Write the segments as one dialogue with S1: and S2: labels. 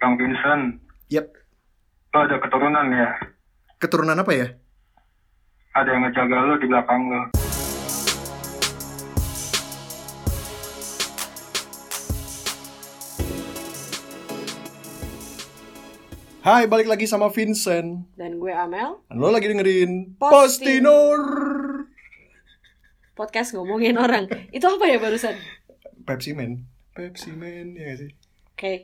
S1: Bang Vincent,
S2: Yap.
S1: lo ada keturunan ya?
S2: Keturunan apa ya?
S1: Ada yang ngejaga lo di belakang lo.
S2: Hai, balik lagi sama Vincent.
S3: dan gue Amel
S2: Dan Lo lagi dengerin
S3: Postin-
S2: Postinor.
S3: podcast ngomongin orang itu apa ya barusan
S2: Pepsi Man. Pepsi Man, ya nggak sih?
S3: oke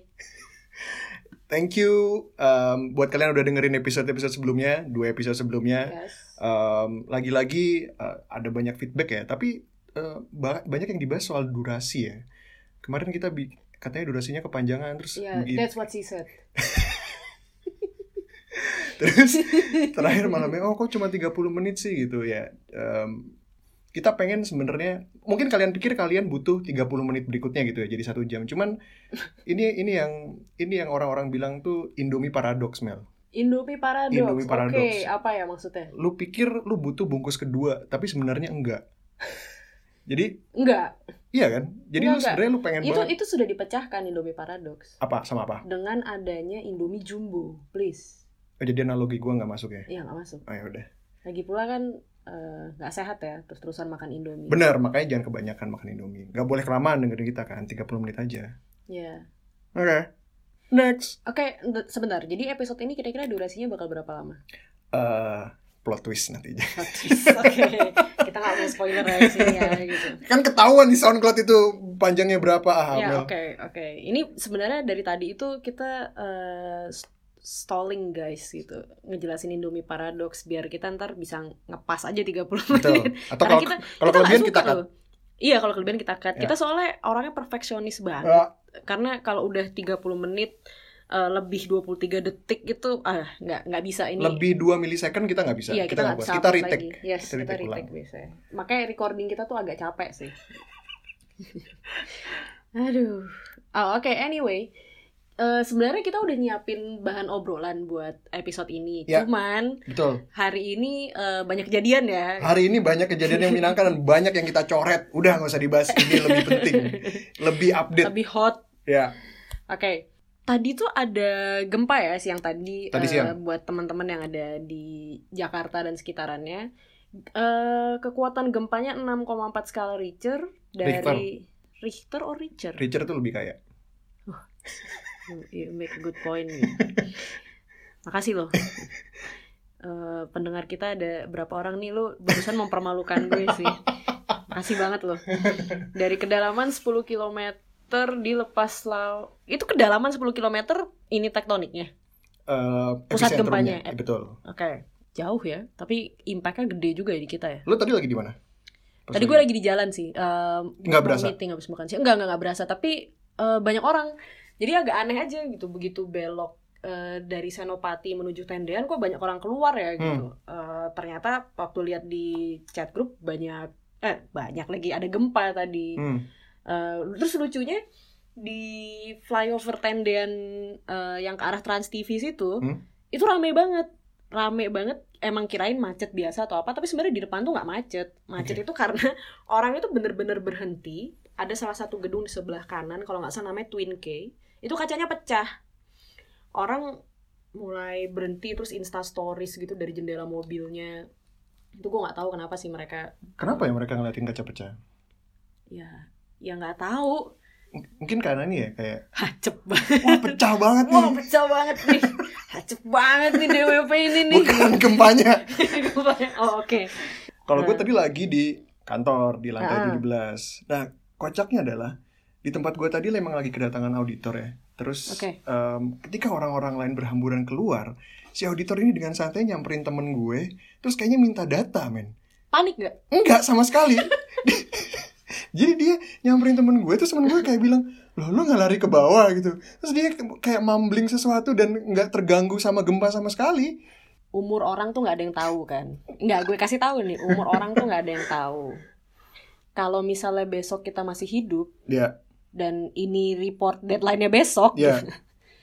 S2: Thank you um, buat kalian yang udah dengerin episode-episode sebelumnya, dua episode sebelumnya.
S3: yes
S2: Um, Lagi-lagi uh, ada banyak feedback ya, tapi uh, ba- banyak yang dibahas soal durasi ya. Kemarin kita bi- katanya durasinya kepanjangan terus
S3: yeah
S2: bi-
S3: Ya, that's what she said
S2: terus terakhir malamnya oh kok cuma 30 menit sih gitu ya Em, kita pengen sebenarnya mungkin kalian pikir kalian butuh 30 menit berikutnya gitu ya jadi satu jam cuman ini ini yang ini yang orang-orang bilang tuh Indomie paradox Mel
S3: Indomie paradox
S2: Indomie
S3: oke
S2: paradox.
S3: apa ya maksudnya
S2: lu pikir lu butuh bungkus kedua tapi sebenarnya enggak jadi
S3: enggak
S2: iya kan jadi
S3: Enggak,
S2: lu
S3: enggak.
S2: sebenarnya lu pengen
S3: itu
S2: banget
S3: itu sudah dipecahkan Indomie paradox
S2: apa sama apa
S3: dengan adanya Indomie jumbo please
S2: Oh, jadi analogi gua nggak masuk ya
S3: ya nggak masuk
S2: oh, ya udah
S3: lagi pula kan eh, nggak sehat ya terus terusan makan Indomie
S2: benar makanya jangan kebanyakan makan Indomie nggak boleh kelamaan dengerin kita kan 30 menit aja
S3: ya
S2: oke next
S3: oke d- sebentar jadi episode ini kira-kira durasinya bakal berapa lama
S2: eh plot twist nantinya.
S3: oke kita nggak mau spoiler ya di sini ya gitu
S2: Kan ketahuan di SoundCloud itu panjangnya berapa ah.
S3: Ya
S2: Amel.
S3: oke oke. Ini sebenarnya dari tadi itu kita eh, st- stalling guys gitu, ngejelasin Indomie paradox biar kita ntar bisa ngepas aja 30
S2: Betul.
S3: menit.
S2: Atau kalau
S3: kita
S2: kalau
S3: nggak
S2: kelebihan
S3: suka
S2: kita kan, cut.
S3: loh. Iya, kalau kelebihan kita cut.
S2: Ya.
S3: Kita soalnya orangnya perfeksionis banget.
S2: Eh,
S3: Karena kalau udah 30 menit eh, lebih 23 detik itu ah nggak nggak bisa ini.
S2: lebih 2 millisecond kita nggak bisa.
S3: Iya, kita nggak
S2: buat.
S3: bisa
S2: Kita
S3: upload
S2: retake.
S3: lagi. Yes,
S2: Kita
S3: kita,
S2: retake ulang.
S3: retake biasanya. Makanya recording kita tuh agak capek sih. Aduh. Oh, oke, anyway. Eh, sebenarnya kita udah nyiapin bahan obrolan buat episode ini.
S2: Ya.
S3: Cuman
S2: Betul.
S3: hari ini eh, banyak kejadian ya.
S2: Hari ini banyak kejadian yang menyenangkan dan banyak yang kita coret. Udah nggak usah dibahas. Ini lebih penting. lebih update.
S3: Lebih hot.
S2: Ya.
S3: Oke. Tadi tuh ada gempa ya siang tadi,
S2: Tadi
S3: eh,
S2: siang.
S3: buat teman-teman yang ada di Jakarta dan sekitarannya. Eh, kekuatan gempanya 6,4 skala Richter dari Richter, or Richter?
S2: Richard tuh lebih kaya.
S3: You- You make a good point. Makasih loh. Eh, pendengar kita ada berapa orang nih lo barusan mempermalukan gue sih. Makasih banget loh. Dari kedalaman 10 km dilepas laut. Itu kedalaman 10 km ini tektoniknya.
S2: Eh,
S3: Pusat
S2: epicentrumnya.
S3: gempanya. ya.
S2: Betul.
S3: Oke. Jauh ya, tapi impactnya gede juga ya di kita ya.
S2: Lu tadi lagi di mana? Pas
S3: Tadi gue lagi di jalan sih. eh,
S2: Nggak
S3: mau
S2: berasa?
S3: Meeting habis makan siang. Enggak, enggak, enggak berasa. Tapi eh, banyak orang. Jadi agak aneh aja gitu. Begitu belok eh, dari Senopati menuju Tendean, kok banyak orang keluar ya
S2: Hmm.
S3: gitu. Eh, ternyata waktu lihat di chat grup banyak, eh banyak lagi. Ada gempa tadi.
S2: Hmm.
S3: Eh, terus lucunya di flyover Tendean eh, yang ke arah Trans TV situ,
S2: Hmm.
S3: itu rame banget, rame banget. Emang kirain macet biasa atau apa, tapi sebenarnya di depan tuh nggak macet. Macet itu karena orang itu bener-bener berhenti. Ada salah satu gedung di sebelah kanan, kalau nggak salah namanya Twin K, itu kacanya pecah. Orang mulai berhenti terus insta stories gitu dari jendela mobilnya. Itu gue nggak tahu kenapa sih mereka.
S2: Kenapa ya mereka ngeliatin kaca pecah?
S3: Ya, ya nggak tahu.
S2: M- Mungkin karena ini ya kayak
S3: Hacep banget.
S2: wah pecah banget nih.
S3: Wah pecah banget nih Hacep banget nih DWP ini nih
S2: Bukan gempanya.
S3: Oh oke
S2: Kalau gue
S3: Nah.
S2: tadi lagi di kantor di lantai
S3: Ah.
S2: 17. Nah, kocaknya adalah di tempat gue tadi memang lagi kedatangan auditor ya. Terus
S3: Oke.
S2: em, ketika orang-orang lain berhamburan keluar, si auditor ini dengan santai nyamperin temen gue, terus kayaknya minta data, men.
S3: Panik gak?
S2: Enggak sama sekali. Jadi dia nyamperin temen gue, terus temen gue kayak bilang, loh lu nggak lari ke bawah gitu. Terus dia kayak mumbling sesuatu dan nggak terganggu sama gempa sama sekali.
S3: Umur orang tuh nggak ada yang tahu kan Nggak gue kasih tahu nih Umur orang tuh nggak ada yang tahu Kalau misalnya besok kita masih hidup
S2: Ya,
S3: Dan ini report deadline-nya besok
S2: ya,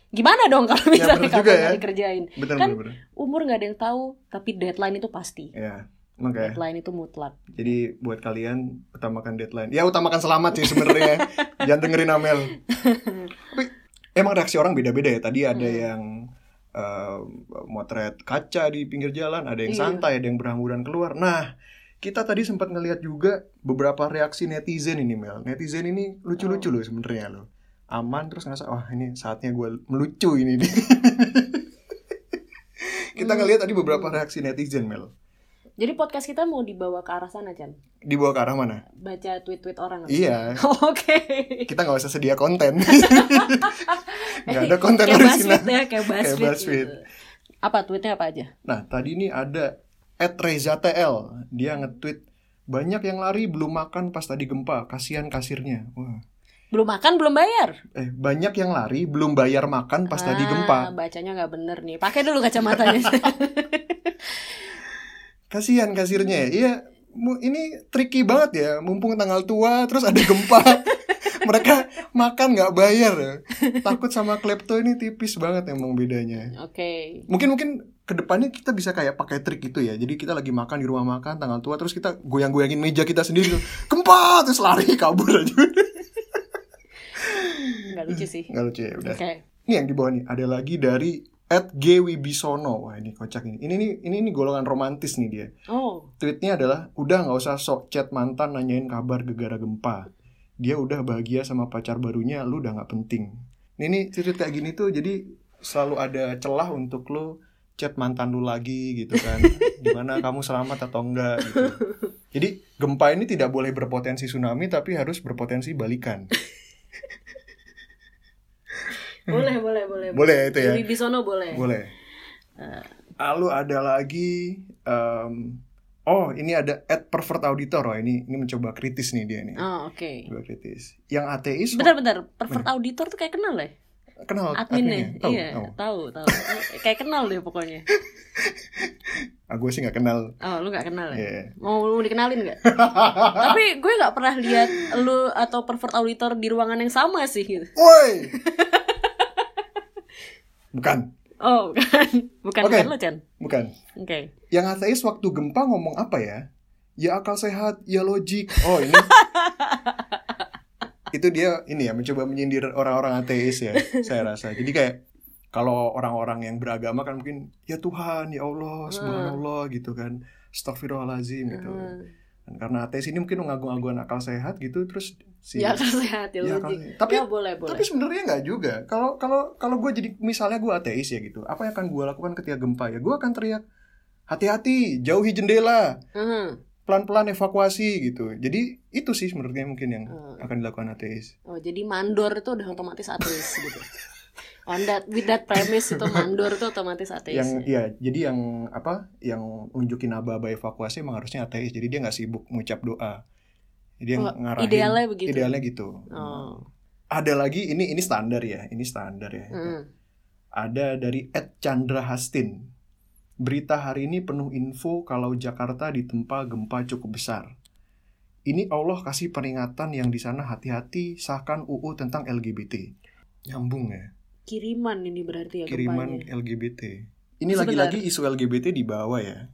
S3: Gimana dong kalau
S2: Ya, bener
S3: misalnya kapan
S2: juga
S3: nggak
S2: ya.
S3: dikerjain
S2: bener
S3: Kan-
S2: bener bener.
S3: Umur nggak ada yang tahu Tapi deadline itu pasti
S2: Ya, oke.
S3: Deadline itu mutlak
S2: Jadi buat kalian utamakan deadline. Ya utamakan selamat sih sebenarnya. Jangan dengerin Amel. Tapi emang reaksi orang beda-beda ya tadi ada
S3: Hmm.
S2: yang eh, motret kaca di pinggir jalan ada yang
S3: Iya.
S2: santai ada yang berhamburan keluar nah kita tadi sempat ngelihat juga beberapa reaksi netizen ini Mel netizen ini lucu-lucu
S3: Oh.
S2: loh sebenarnya loh aman terus ngerasa wah ini saatnya gue melucu ini kita
S3: Hmm.
S2: ngelihat tadi beberapa reaksi netizen Mel
S3: Jadi podcast kita mau dibawa ke arah sana, Chan.
S2: dibawa ke arah mana
S3: Baca tweet-tweet orang.
S2: iya
S3: Oke.
S2: kita nggak usah sedia konten nggak ada konten
S3: kayak
S2: original
S3: BuzzFeed ya, kayak BuzzFeed.
S2: BuzzFeed.
S3: gitu. Apa tweetnya apa aja?
S2: Nah, tadi ini ada at @rezatl. Dia nge-tweet banyak yang lari belum makan pas tadi gempa, kasihan kasirnya. Wah.
S3: Belum makan, belum bayar.
S2: Eh, banyak yang lari belum bayar makan pas tadi
S3: Ah,
S2: gempa.
S3: Bacanya nggak bener nih. Pakai dulu kacamatanya.
S2: Kasihan kasirnya. Iya, mu- ini tricky banget ya. Mumpung tanggal tua terus ada gempa. Mereka makan nggak bayar. Takut sama klepto ini tipis banget emang bedanya.
S3: Oke.
S2: Mungkin mungkin kedepannya kita bisa kayak pakai trik gitu ya. Jadi kita lagi makan di rumah makan tanggal tua terus kita goyang-goyangin meja kita sendiri tuh. Gempa terus lari kabur aja.
S3: Nggak lucu sih.
S2: Nggak lucu ya
S3: Oke.
S2: udah. Ini yang di bawah nih ada lagi dari at Wibisono. Wah ini kocak ini. Ini nih ini nih golongan romantis nih dia.
S3: Oh.
S2: Tweetnya adalah udah nggak usah sok chat mantan nanyain kabar gegara gempa. Dia udah bahagia sama pacar barunya, lu udah nggak penting. Ini nih tweet kayak gini tuh jadi selalu ada celah untuk lu chat mantan lu lagi gitu kan. Gimana kamu selamat atau enggak gitu. Jadi gempa ini tidak boleh berpotensi tsunami tapi harus berpotensi balikan.
S3: Boleh, boleh, boleh.
S2: Boleh itu ya.
S3: Lebih bisono boleh.
S2: Boleh. Lalu ada lagi em, oh ini ada ad pervert auditor oh ini ini mencoba kritis nih dia nih.
S3: Oh, oke.
S2: Mencoba kritis. Yang ateis oh,
S3: Bentar-bentar, pervert auditor tuh kayak kenal ya?
S2: kenal
S3: Adminnya,
S2: Tahu,
S3: iya,
S2: tahu.
S3: tahu, tahu. Eh, kayak kenal deh pokoknya.
S2: Ah, gue sih nggak kenal.
S3: Oh, lu gak kenal ya?
S2: Iya.
S3: Mau lu dikenalin gak? Tapi gue gak pernah lihat lu atau pervert auditor di ruangan yang sama sih gitu.
S2: Woi. bukan,
S3: Oh, bukan. Bukan,
S2: Oke.
S3: bukan lu, Chan.
S2: bukan.
S3: Oke.
S2: Yang ateis waktu gempa ngomong apa ya? Ya akal sehat, ya logik. Oh ini. itu dia ini ya mencoba menyindir orang-orang ateis ya saya rasa jadi kayak kalau orang-orang yang beragama kan mungkin ya Tuhan ya Allah subhanallah gitu kan Astaghfirullahaladzim gitu
S3: Ah.
S2: Dan karena ateis ini mungkin mengagung-agungkan akal sehat gitu terus si
S3: Ya akal sehat ya,
S2: Ya,
S3: logik.
S2: akal- tapi
S3: ya, boleh, boleh.
S2: Tapi sebenarnya nggak juga. Kalau kalau kalau gue jadi misalnya gue ateis ya gitu, apa yang akan gue lakukan ketika gempa ya? Gue akan teriak hati-hati, jauhi jendela,
S3: Heeh.
S2: pelan-pelan evakuasi gitu. Jadi itu sih sebenarnya mungkin yang
S3: Hmm.
S2: akan dilakukan ateis.
S3: Oh, jadi mandor itu udah otomatis ateis gitu. On that with that premise itu mandor itu otomatis ateis.
S2: Yang ya jadi yang apa? Yang unjukin aba-aba evakuasi emang harusnya ateis. Jadi dia nggak sibuk ngucap doa. Jadi yang
S3: Oh,
S2: ngarahin
S3: idealnya begitu.
S2: Idealnya gitu.
S3: Oh.
S2: Ada lagi ini ini standar ya, ini standar ya.
S3: Mm.
S2: ada dari Ed Chandra Hastin. Berita hari ini penuh info kalau Jakarta ditempa gempa cukup besar. Ini Allah kasih peringatan yang di sana hati-hati sahkan UU tentang LGBT. Nyambung ya,
S3: Kiriman ini berarti ya
S2: kiriman
S3: gempanya.
S2: LGBT. Ini
S3: Sebentar.
S2: lagi-lagi isu LGBT di bawah ya.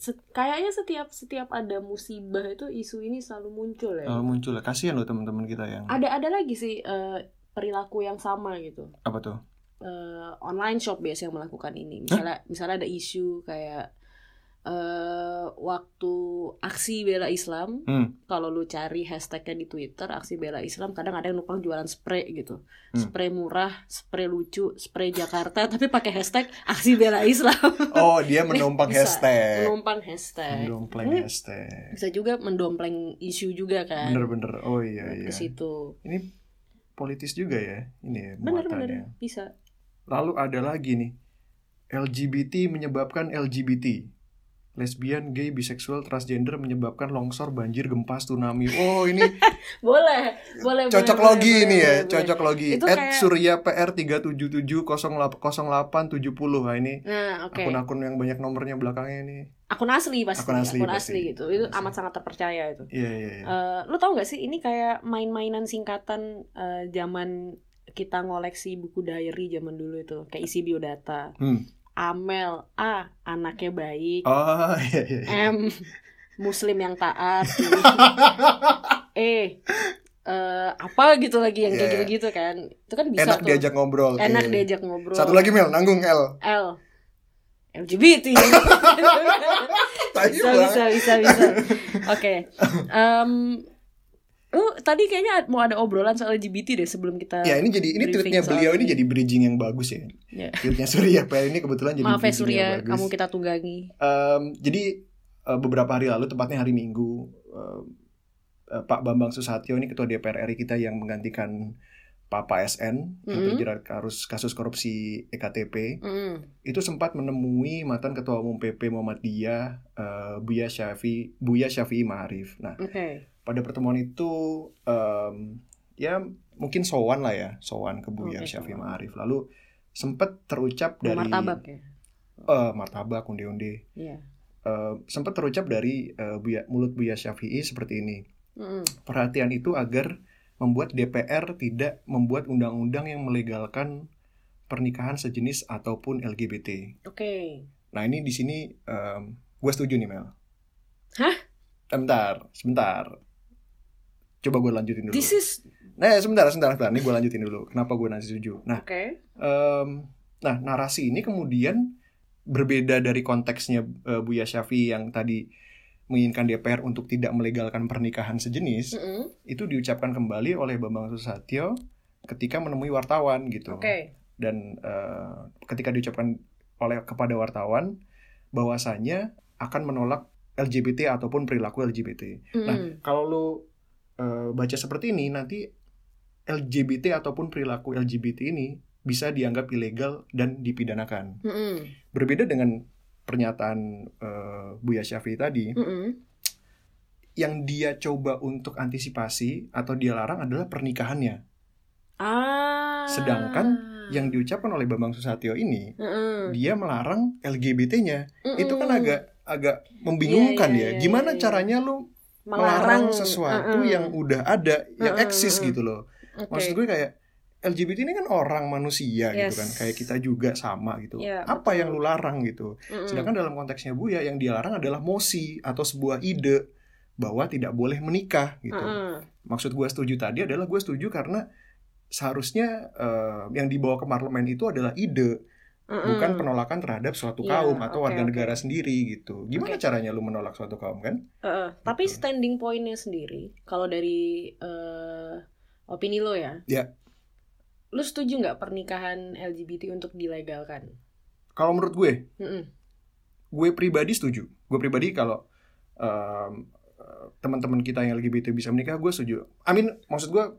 S3: Se- kayaknya setiap setiap ada musibah itu isu ini selalu muncul ya.
S2: Eh, muncul ya. Kasihan loh teman-teman kita yang
S3: Ada ada lagi sih eh, perilaku yang sama gitu.
S2: apa tuh?
S3: eh, online shop biasanya melakukan ini. Misalnya misalnya ada isu kayak eh waktu aksi bela Islam,
S2: Hmm.
S3: kalau lu cari hashtagnya di Twitter aksi bela Islam, kadang ada yang numpang jualan spray gitu,
S2: Hmm.
S3: spray murah, spray lucu, spray Jakarta, tapi pakai hashtag aksi bela Islam,
S2: Oh, dia menumpang
S3: Bisa.
S2: hashtag.
S3: numpang hashtag.
S2: Menumpang
S3: Ini
S2: hashtag.
S3: Bisa juga mendompleng isu juga kan
S2: Bener-bener. Oh iya
S3: ke
S2: iya.
S3: situ.
S2: Ini politis juga ya. Ini ya muatannya.
S3: Bener-bener bisa.
S2: Lalu ada lagi nih. LGBT menyebabkan LGBT. Lesbian, gay, biseksual, transgender menyebabkan longsor, banjir, gempa, tsunami. Oh, ini
S3: Boleh, boleh.
S2: cocok
S3: boleh,
S2: logi
S3: boleh,
S2: ini ya,
S3: boleh,
S2: cocok logi.
S3: Itu
S2: At
S3: kayak-
S2: Surya PR 3770870. Nah, ini
S3: boleh. Nah, oke.
S2: akun-akun yang banyak nomornya belakangnya ini.
S3: akun asli pasti
S2: Akun
S3: akun
S2: asli
S3: asli,
S2: pasti.
S3: gitu itu
S2: Asli.
S3: amat sangat terpercaya itu
S2: Iya, iya, iya.
S3: Eh, lu tau gak sih ini kayak main-mainan singkatan eh, zaman kita ngoleksi buku diary zaman dulu itu kayak isi biodata
S2: Hmm.
S3: Amel A anaknya baik
S2: Oh, iya,
S3: eh,
S2: iya. iya.
S3: M muslim yang taat E eh, apa gitu lagi yang kayak
S2: Iya.
S3: gitu-gitu kan itu kan bisa
S2: enak
S3: tuh
S2: diajak ngobrol
S3: enak
S2: Iya.
S3: diajak ngobrol
S2: satu lagi Mel nanggung L
S3: L LGBT
S2: Tai
S3: bisa,
S2: banget.
S3: bisa bisa bisa oke Em lu tadi kayaknya mau ada obrolan soal LGBT deh sebelum kita
S2: ya ini jadi ini
S3: Briefing
S2: tweetnya
S3: soal
S2: beliau ini
S3: ini.
S2: jadi bridging yang bagus ya
S3: Iya.
S2: tweetnya Surya PL ini kebetulan jadi
S3: maaf ya
S2: bridging
S3: Surya
S2: yang bagus.
S3: kamu kita tunggangi
S2: Em, jadi eh, beberapa hari lalu tepatnya hari Minggu em, eh, Pak Bambang Susatyo ini ketua DPR RI kita yang menggantikan Papa SN yang
S3: Mhm.
S2: terjerat kasus kasus korupsi E EKTP
S3: Mm.
S2: itu sempat menemui mantan ketua umum PP Muhammadiyah eh, Buya Syafi Buya Syafi'i Ma'arif. Nah,
S3: oke
S2: pada pertemuan itu em, ya mungkin sowan lah ya, sowan ke Buya
S3: Oke,
S2: Syafi'i
S3: sowan.
S2: Ma'arif. Lalu sempat terucap dari
S3: martabak ya
S2: eh, martabak unde-unde.
S3: iya
S2: Eh, sempat terucap dari eh, Buya- mulut Buya Syafi'i seperti ini.
S3: Mm-mm.
S2: Perhatian itu agar membuat DPR tidak membuat undang-undang yang melegalkan pernikahan sejenis ataupun LGBT.
S3: oke
S2: Nah ini di sini gue setuju nih Mel.
S3: Hah?
S2: Sebentar, sebentar. Coba gue lanjutin dulu.
S3: this is
S2: Nah ya, sebentar, sebentar, sebentar. Ini gue lanjutin dulu. Kenapa gue nanti setuju? Nah,
S3: oke
S2: em, nah narasi ini kemudian berbeda dari konteksnya eh, Buya Syafi yang tadi menginginkan DPR untuk tidak melegalkan pernikahan sejenis
S3: Mm-mm.
S2: itu diucapkan kembali oleh Bambang Susatyo ketika menemui wartawan gitu
S3: oke
S2: dan eh, ketika diucapkan oleh kepada wartawan bahwasanya akan menolak LGBT ataupun perilaku LGBT. Nah,
S3: Mm-mm.
S2: kalau lu eh, baca seperti ini nanti LGBT ataupun perilaku LGBT ini bisa dianggap ilegal dan dipidanakan.
S3: Mm-mm.
S2: Berbeda dengan pernyataan eh, Buya Syafi'i tadi,
S3: Mm-mm.
S2: yang dia coba untuk antisipasi atau dia larang adalah
S3: Hmm.
S2: pernikahannya.
S3: ah
S2: Sedangkan Yang diucapkan oleh Bambang Susatyo ini
S3: Mm-mm.
S2: dia melarang LGBT-nya. Itu kan
S3: Mm-mm.
S2: agak agak membingungkan
S3: Hmm. Iya, iya,
S2: ya.
S3: iya,
S2: Gimana
S3: iya. Hmm,
S2: caranya lu melarang sesuatu yang udah ada, yang
S3: Mm-mm,
S2: eksis
S3: mm-mm.
S2: gitu loh.
S3: Ah, Oke.
S2: Maksud gue kayak LGBT ini kan orang manusia gitu
S3: Yes.
S2: kan, kayak kita juga sama gitu.
S3: Iya,
S2: Apa
S3: betul. Hmm.
S2: yang lu larang gitu?
S3: Mm-mm.
S2: Sedangkan dalam konteksnya Buya yang dilarang adalah mosi atau sebuah ide bahwa tidak boleh menikah gitu.
S3: Mm-mm.
S2: Maksud gue setuju tadi adalah gue setuju karena seharusnya eh, yang dibawa ke parlemen itu adalah ide
S3: Mm-mm.
S2: bukan penolakan terhadap suatu
S3: Hmm. Iya,
S2: kaum atau
S3: oke,
S2: warga
S3: oke.
S2: negara sendiri gitu. Gimana caranya lu menolak suatu kaum kan?
S3: Heeh, tapi
S2: Gitu.
S3: standing pointnya sendiri kalau dari eh, opini lo ya
S2: Iya.
S3: lo setuju nggak pernikahan LGBT untuk dilegalkan
S2: Kalau menurut gue,
S3: Mm-mm.
S2: gue pribadi setuju. Gue pribadi kalau em, eh, teman-teman kita yang LGBT bisa menikah, gue setuju. I mean, maksud gue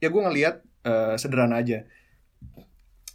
S2: ya gue ngelihat eh, sederhana aja.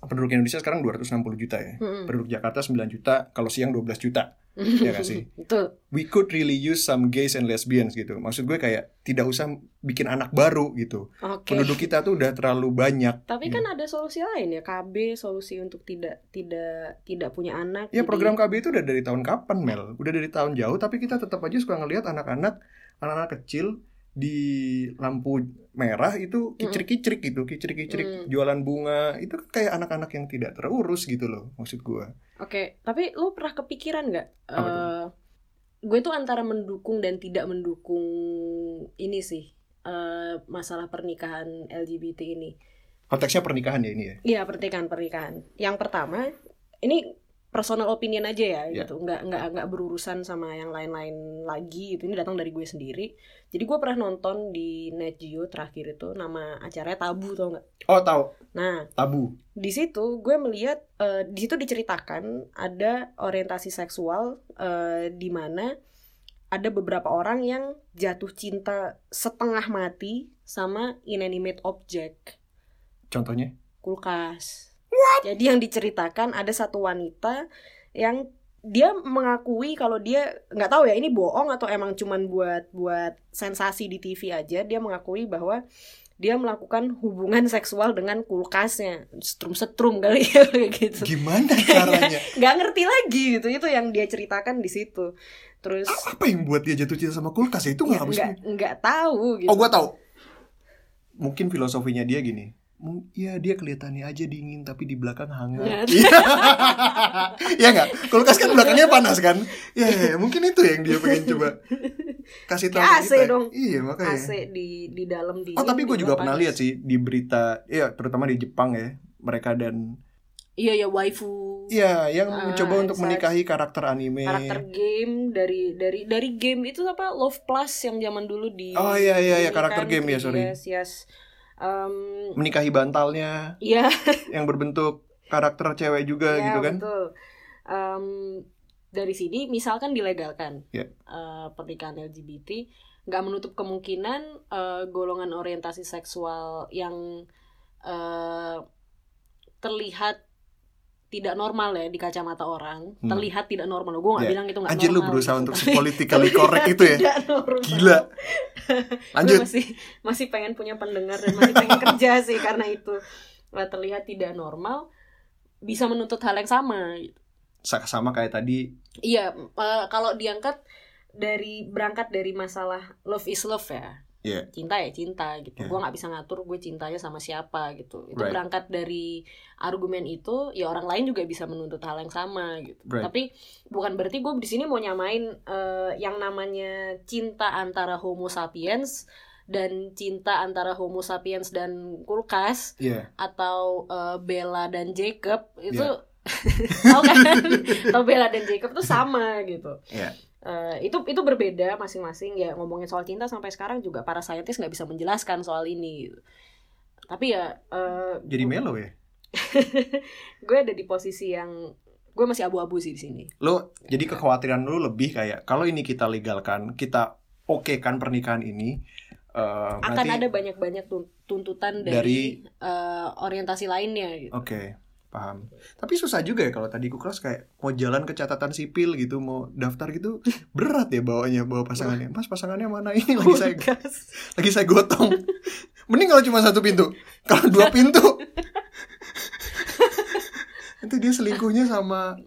S2: Penduduk Indonesia sekarang 260 juta ya.
S3: Mm-mm.
S2: Penduduk Jakarta 9 juta, kalau siang 12 juta. ya nggak sih?
S3: betul
S2: We could really use some gays and lesbians gitu. Maksud gue kayak tidak usah bikin anak baru gitu.
S3: oke
S2: Penduduk Hmm. kita tuh udah terlalu banyak.
S3: tapi kan ada solusi lain ya KB solusi untuk tidak tidak tidak punya anak
S2: Ya
S3: jadi-
S2: program KB itu udah dari tahun kapan Mel? Udah dari tahun jauh tapi kita tetap aja suka ngelihat anak-anak anak-anak kecil di lampu merah itu kicrik-kicrik gitu, kicrik-kicrik
S3: Mm.
S2: jualan bunga. Itu kan kayak anak-anak yang tidak terurus gitu loh maksud gua.
S3: Oke, tapi lu pernah kepikiran nggak?
S2: Apa tuh?
S3: eh, gue tuh antara mendukung dan tidak mendukung ini sih eh, masalah pernikahan LGBT ini.
S2: Konteksnya pernikahan ya ini ya.
S3: Iya pernikahan pernikahan. Yang pertama, ini personal opinion aja ya,
S2: Iya.
S3: gitu. Nggak nggak nggak berurusan sama yang lain-lain lagi. Itu ini datang dari gue sendiri. Jadi gue pernah nonton di Net Geo terakhir itu nama acaranya Tabu tau nggak?
S2: Oh, tahu,
S3: Nah,
S2: tabu.
S3: di situ gue melihat eh, di situ diceritakan ada orientasi seksual eh, di mana ada beberapa orang yang jatuh cinta setengah mati sama inanimate object
S2: Contohnya
S3: kulkas. Jadi yang diceritakan ada satu wanita yang dia mengakui kalau dia nggak tahu ya ini bohong atau emang cuman buat buat sensasi di TV aja dia mengakui bahwa dia melakukan hubungan seksual dengan kulkasnya setrum-setrum kali ya kayak gitu
S2: gimana caranya?
S3: nggak ngerti lagi gitu itu yang dia ceritakan di situ terus
S2: A- Apa yang buat dia jatuh cinta sama kulkas ya? Itu nggak habis.
S3: nggak nggak tahu gitu
S2: Oh, gua tahu. Mungkin filosofinya dia gini. "Mung- Iya, dia kelihatannya aja dingin tapi di belakang hangat.
S3: Hangat.
S2: Iya. Iya enggak? Kulkas kan belakangnya panas kan? Iya, iya, iya. mungkin itu yang dia pengen coba kasih tahu
S3: Kayak AC
S2: kita.
S3: dong.
S2: Iya makanya.
S3: AC di di dalam di
S2: Oh tapi
S3: ini,
S2: gue
S3: di
S2: juga
S3: luar
S2: pernah
S3: panas.
S2: lihat sih di berita, ya terutama di Jepang ya mereka dan
S3: iya ya waifu
S2: Iya, yang
S3: Ah,
S2: mencoba untuk
S3: bisa-
S2: menikahi karakter anime.
S3: karakter game dari dari dari game itu apa Love Plus yang zaman dulu di
S2: Oh, iya, iya, iya,
S3: ini
S2: karakter game, ya, sorry.
S3: yes yes Em,
S2: Menikahi bantalnya
S3: iya
S2: yang berbentuk karakter cewek juga
S3: ya,
S2: gitu kan.
S3: betul. Em, dari sini misalkan dilegalkan
S2: Ya.
S3: eh, pernikahan LGBT, nggak menutup kemungkinan eh, golongan orientasi seksual yang eh, terlihat tidak normal ya di kacamata orang,
S2: Hmm.
S3: terlihat tidak normal. Gue nggak
S2: Ya.
S3: bilang itu nggak normal. iya.
S2: Anjir lu berusaha
S3: gitu,
S2: untuk
S3: tapi-
S2: politically correct itu ya.
S3: Tidak normal.
S2: Gila.
S3: Gue
S2: Lanjut.
S3: masih masih pengen punya pendengar dan masih pengen kerja sih karena itu Nah, terlihat tidak normal bisa menuntut hal yang sama gitu.
S2: Sa- Sama kayak tadi.
S3: Iya, eh, kalau diangkat dari berangkat dari masalah love is love ya.
S2: Iya.
S3: Cinta ya cinta gitu.
S2: Iya.
S3: Gua nggak bisa ngatur gue cintanya sama siapa gitu. Itu
S2: Right.
S3: berangkat dari argumen itu, ya orang lain juga bisa menuntut hal yang sama gitu.
S2: Right.
S3: Tapi bukan berarti gue di sini mau nyamain eh, yang namanya cinta antara homo sapiens dan cinta antara homo sapiens dan kulkas
S2: Iya.
S3: atau eh, Bella dan Jacob itu tau kan tau Bella dan Jacob tuh sama gitu
S2: Iya.
S3: Eh, itu itu berbeda masing-masing ya ngomongin soal cinta sampai sekarang juga para saintis nggak bisa menjelaskan soal ini gitu. tapi ya eh,
S2: Jadi melo ya.
S3: gue ada di posisi yang gue masih abu-abu sih di sini
S2: Lo jadi
S3: Iya.
S2: kekhawatiran lu lebih kayak kalau ini kita legalkan, kita oke kan pernikahan ini eh,
S3: akan
S2: berarti-
S3: ada banyak-banyak tun- tuntutan dari, eh, orientasi lainnya gitu.
S2: Oke, paham. Tapi susah juga ya kalau tadi kuklas kayak mau jalan ke catatan sipil gitu, mau daftar gitu berat ya bawanya bawa pasangannya. Mas pasangannya mana ini lagi saya
S3: Kulkas.
S2: lagi saya gotong. Mending kalau cuma satu pintu. Kalau dua pintu nanti dia selingkuhnya sama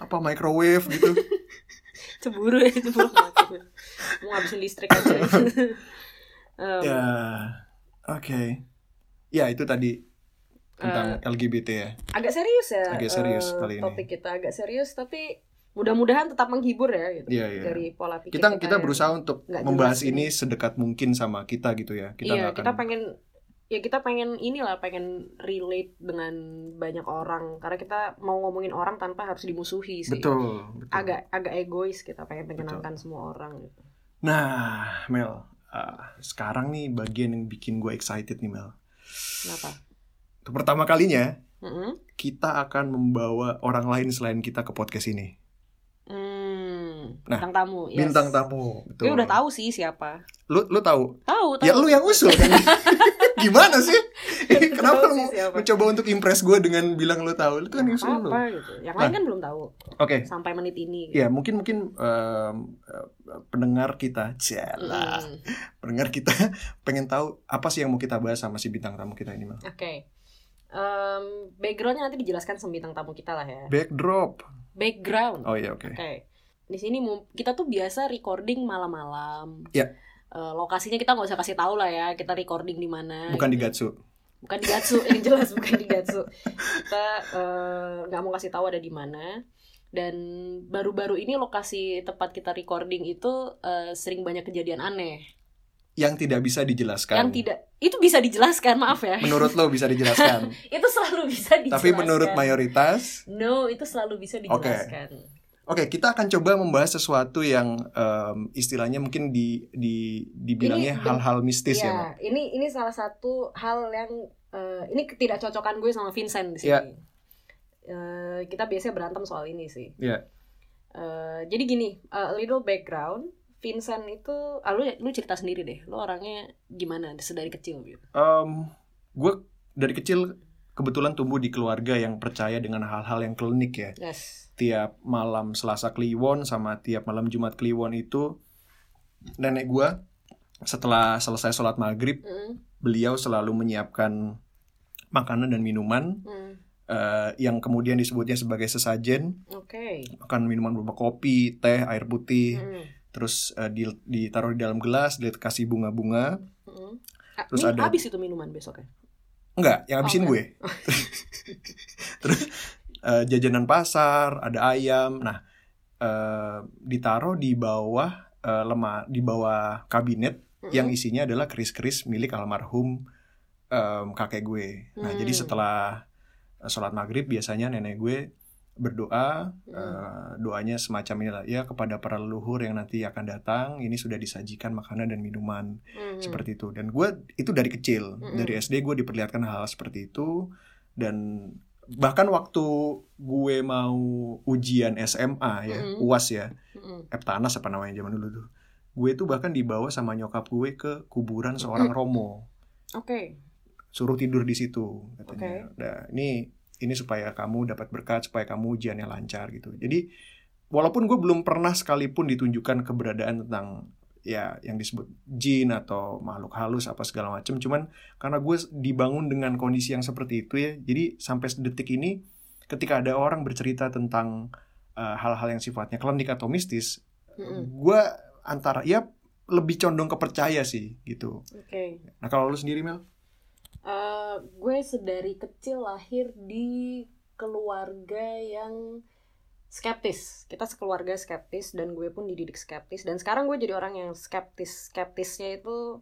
S2: apa microwave gitu.
S3: cemburu ya cemburu banget. mau ngabisin listrik aja Em,
S2: Ya, oke. Ya itu tadi tentang
S3: Eh,
S2: LGBT ya.
S3: agak serius ya
S2: Agak serius
S3: eh,
S2: kali ini.
S3: topik kita agak serius tapi mudah-mudahan tetap menghibur ya gitu
S2: Iya, iya.
S3: dari pola pikir
S2: Kita kita
S3: yang-
S2: berusaha untuk
S3: nggak jelas
S2: membahas ini
S3: ini.
S2: sedekat mungkin sama kita gitu ya. Kita
S3: iya
S2: nggak akan
S3: kita pengen ya kita pengen inilah pengen relate dengan banyak orang karena kita mau ngomongin orang tanpa harus dimusuhi sih
S2: Betul, betul.
S3: agak agak egois kita pengen menyenangkan semua orang gitu.
S2: Nah, Mel, ah, sekarang nih bagian yang bikin gue excited nih Mel.
S3: kenapa
S2: Untuk pertama kalinya
S3: Mm-mm.
S2: kita akan membawa orang lain selain kita ke podcast ini.
S3: Hmm,
S2: Nah,
S3: bintang tamu yes.
S2: Bintang tamu.
S3: gue
S2: Betul.
S3: udah tahu sih siapa
S2: Lu lu tahu?
S3: tahu tahu
S2: Ya lu yang usul kan. Gimana sih? Ini Kenapa
S3: Tahu
S2: lu
S3: sih siapa.
S2: mencoba untuk impress gue dengan bilang lu tahu? Lu kan yang usul lu. Iya.
S3: apa gitu yang lain
S2: Nah.
S3: kan belum tahu
S2: Oke.
S3: sampai menit ini gitu.
S2: Ya, mungkin mungkin em, eh, pendengar kita,
S3: Hmm.
S2: jalah.
S3: Mm-mm.
S2: Pendengar kita pengen tahu apa sih yang mau kita bahas sama si bintang tamu kita ini, Mel.
S3: Oke. Em, backgroundnya nanti dijelaskan sama bintang tamu kita lah ya.
S2: Backdrop.
S3: Background. Oke.
S2: Oh iya, oke.
S3: Di sini mu- kita tuh biasa recording malam-malam.
S2: Ya.
S3: Eh, lokasinya kita nggak usah kasih tahu lah ya. Kita recording di mana.
S2: Bukan di
S3: gitu.
S2: Gatsu.
S3: Bukan di Gatsu. yang jelas bukan di Gatsu. Kita eh, nggak mau kasih tahu ada di mana. Dan baru-baru ini lokasi tempat kita recording itu eh, sering banyak kejadian aneh.
S2: yang tidak bisa dijelaskan.
S3: Yang tidak itu bisa dijelaskan, maaf ya.
S2: Kan. menurut lo bisa dijelaskan,
S3: itu selalu bisa dijelaskan.
S2: tapi menurut mayoritas,
S3: No, itu selalu bisa
S2: Oke.
S3: dijelaskan.
S2: oke kita akan coba membahas sesuatu yang em, istilahnya mungkin di di dibilangnya
S3: Ini ben-
S2: hal-hal mistis ya. Mbak.
S3: Iya, ini ini salah satu hal yang eh, ini ketidakcocokan gue sama Vincent di sini.
S2: Iya.
S3: Eh, kita biasanya berantem soal ini sih.
S2: Iya.
S3: Eh, jadi gini, eh, a little background. Vincent itu, ah, lu lu cerita sendiri deh. Lu orangnya gimana sedari kecil gitu.
S2: Em, gue dari kecil kebetulan tumbuh di keluarga yang percaya dengan hal-hal yang klinik ya.
S3: Yes.
S2: Tiap malam Selasa Kliwon sama tiap malam Jumat Kliwon itu nenek gue setelah selesai sholat maghrib
S3: Mm,
S2: beliau selalu menyiapkan makanan dan minuman
S3: mm,
S2: eh, yang kemudian disebutnya sebagai sesajen
S3: Oke.
S2: makan minuman berupa kopi teh air putih
S3: Mm,
S2: terus eh, di- ditaruh di dalam gelas dikasih bunga-bunga
S3: mm. Ah,
S2: Terus
S3: ini
S2: ada-
S3: habis itu minuman besoknya.
S2: enggak yang habisin
S3: Oh,
S2: gue terus eh, jajanan pasar ada ayam nah eh, ditaruh di bawah eh, lemah di bawah kabinet
S3: Mm-mm.
S2: yang isinya adalah keris-keris milik almarhum em, kakek gue. Nah,
S3: Hmm.
S2: jadi setelah eh, sholat maghrib biasanya nenek gue berdoa
S3: Hmm.
S2: eh, doanya semacam inilah ya kepada para leluhur yang nanti akan datang ini sudah disajikan makanan dan minuman
S3: Mm.
S2: seperti itu dan gue itu dari kecil
S3: Mm-mm.
S2: dari SD gue diperlihatkan hal, hal seperti itu dan bahkan waktu gue mau ujian SMA ya
S3: Mm-mm.
S2: uas ya
S3: Mm-mm.
S2: Eptanas apa namanya zaman dulu tuh gue tuh bahkan dibawa sama nyokap gue ke kuburan seorang romo
S3: Oke.
S2: suruh tidur di situ katanya Nah, ini ini supaya kamu dapat berkat supaya kamu ujiannya lancar gitu jadi walaupun gue belum pernah sekalipun ditunjukkan keberadaan tentang ya yang disebut jin atau makhluk halus apa segala macam cuman karena gue dibangun dengan kondisi yang seperti itu ya jadi sampai detik ini ketika ada orang bercerita tentang eh, hal-hal yang sifatnya klinik atau mistis
S3: Mm-mm.
S2: gue antara ya lebih condong kepercaya sih gitu
S3: Oke.
S2: nah kalau lu sendiri Mel
S3: Eh, gue sedari kecil lahir di keluarga yang skeptis. Kita sekeluarga skeptis dan gue pun dididik skeptis dan sekarang gue jadi orang yang skeptis. Skeptisnya itu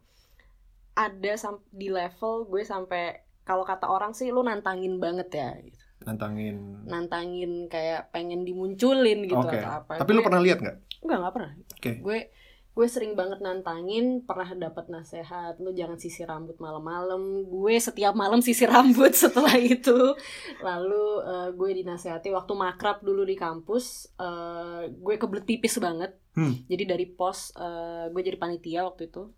S3: ada sam- di level gue sampai kalau kata orang sih lu nantangin banget ya. gitu.
S2: nantangin
S3: Nantangin kayak pengen dimunculin gitu
S2: Oke.
S3: atau apa.
S2: Tapi lu
S3: Gue-
S2: pernah lihat nggak?
S3: Enggak, enggak pernah.
S2: Oke.
S3: Gue gue sering banget nantangin, pernah dapat nasehat, lu jangan sisir rambut malam-malam. Gue setiap malam sisir rambut setelah itu. Lalu eh, gue dinasehati waktu makrab dulu di kampus, eh, gue kebelet pipis banget.
S2: Hmm.
S3: Jadi dari pos eh, gue jadi panitia waktu itu.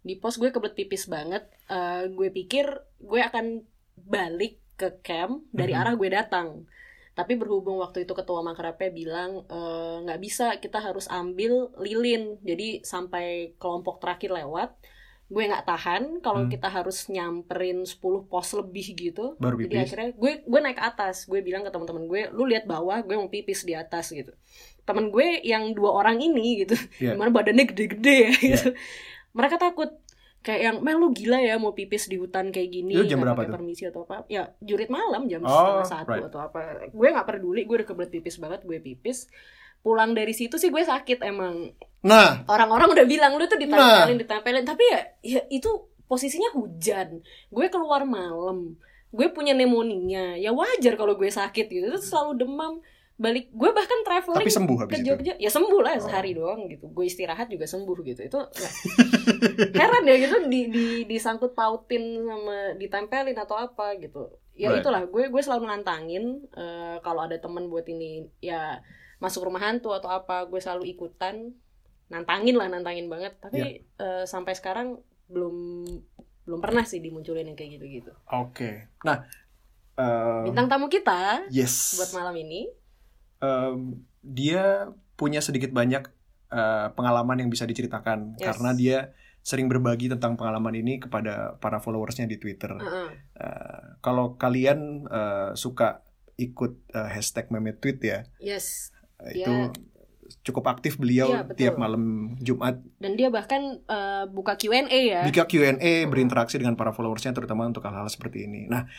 S3: Di pos gue kebelet pipis banget. Eh, gue pikir gue akan balik ke camp dari
S2: Mhm.
S3: arah gue datang. Tapi berhubung waktu itu ketua makrabnya bilang "Eh, nggak bisa, kita harus ambil lilin. Jadi sampai kelompok terakhir lewat, gue nggak tahan kalau
S2: Hmm.
S3: kita harus nyamperin 10 pos lebih gitu.
S2: Baru
S3: Jadi
S2: pipis.
S3: akhirnya gue gue naik ke atas, gue bilang ke teman-teman gue, lu lihat bawah, gue mau pipis di atas gitu. Temen gue yang dua orang ini gitu,
S2: Iya.
S3: dimana badannya gede-gede ya gitu. Mereka takut kayak yang mel lu gila ya mau pipis di hutan kayak gini
S2: Itu jam
S3: nggak
S2: berapa
S3: pakai
S2: tuh?
S3: permisi atau apa ya jurit malam jam
S2: Oh,
S3: setengah satu
S2: right.
S3: atau apa gue nggak peduli gue udah kebelet pipis banget gue pipis pulang dari situ sih gue sakit emang
S2: Nah,
S3: orang-orang udah bilang lu tuh ditempelin ditempelin tapi ya ya itu posisinya hujan gue keluar malam gue punya pneumonia ya wajar kalau gue sakit gitu terus selalu demam balik gue bahkan traveling
S2: tapi sembuh
S3: ke
S2: habis itu.
S3: Jogja ya sembuh lah
S2: Oh.
S3: sehari doang gitu gue istirahat juga sembuh gitu itu nggak- heran ya gitu di, di disangkut pautin sama ditempelin atau apa gitu ya
S2: Right.
S3: itulah gue gue selalu nantangin eh, kalau ada temen buat ini ya masuk rumah hantu atau apa gue selalu ikutan nantangin lah nantangin banget tapi eh, sampai sekarang belum belum pernah sih dimunculin yang kayak gitu-gitu
S2: Oke. Nah, em,
S3: bintang tamu kita
S2: yes.
S3: buat malam ini
S2: Em, dia punya sedikit banyak eh, pengalaman yang bisa diceritakan
S3: Yes.
S2: karena dia sering berbagi tentang pengalaman ini kepada para followersnya di Twitter.
S3: Heeh.
S2: Eh, kalau kalian eh, suka ikut eh, hashtag meme tweet ya,
S3: yes
S2: eh,
S3: Iya.
S2: itu cukup aktif beliau
S3: Iya, betul.
S2: tiap malam Jumat
S3: Dan dia bahkan eh, buka Q&A ya.
S2: Jika Q&A berinteraksi dengan para followersnya terutama untuk hal-hal seperti ini. Nah,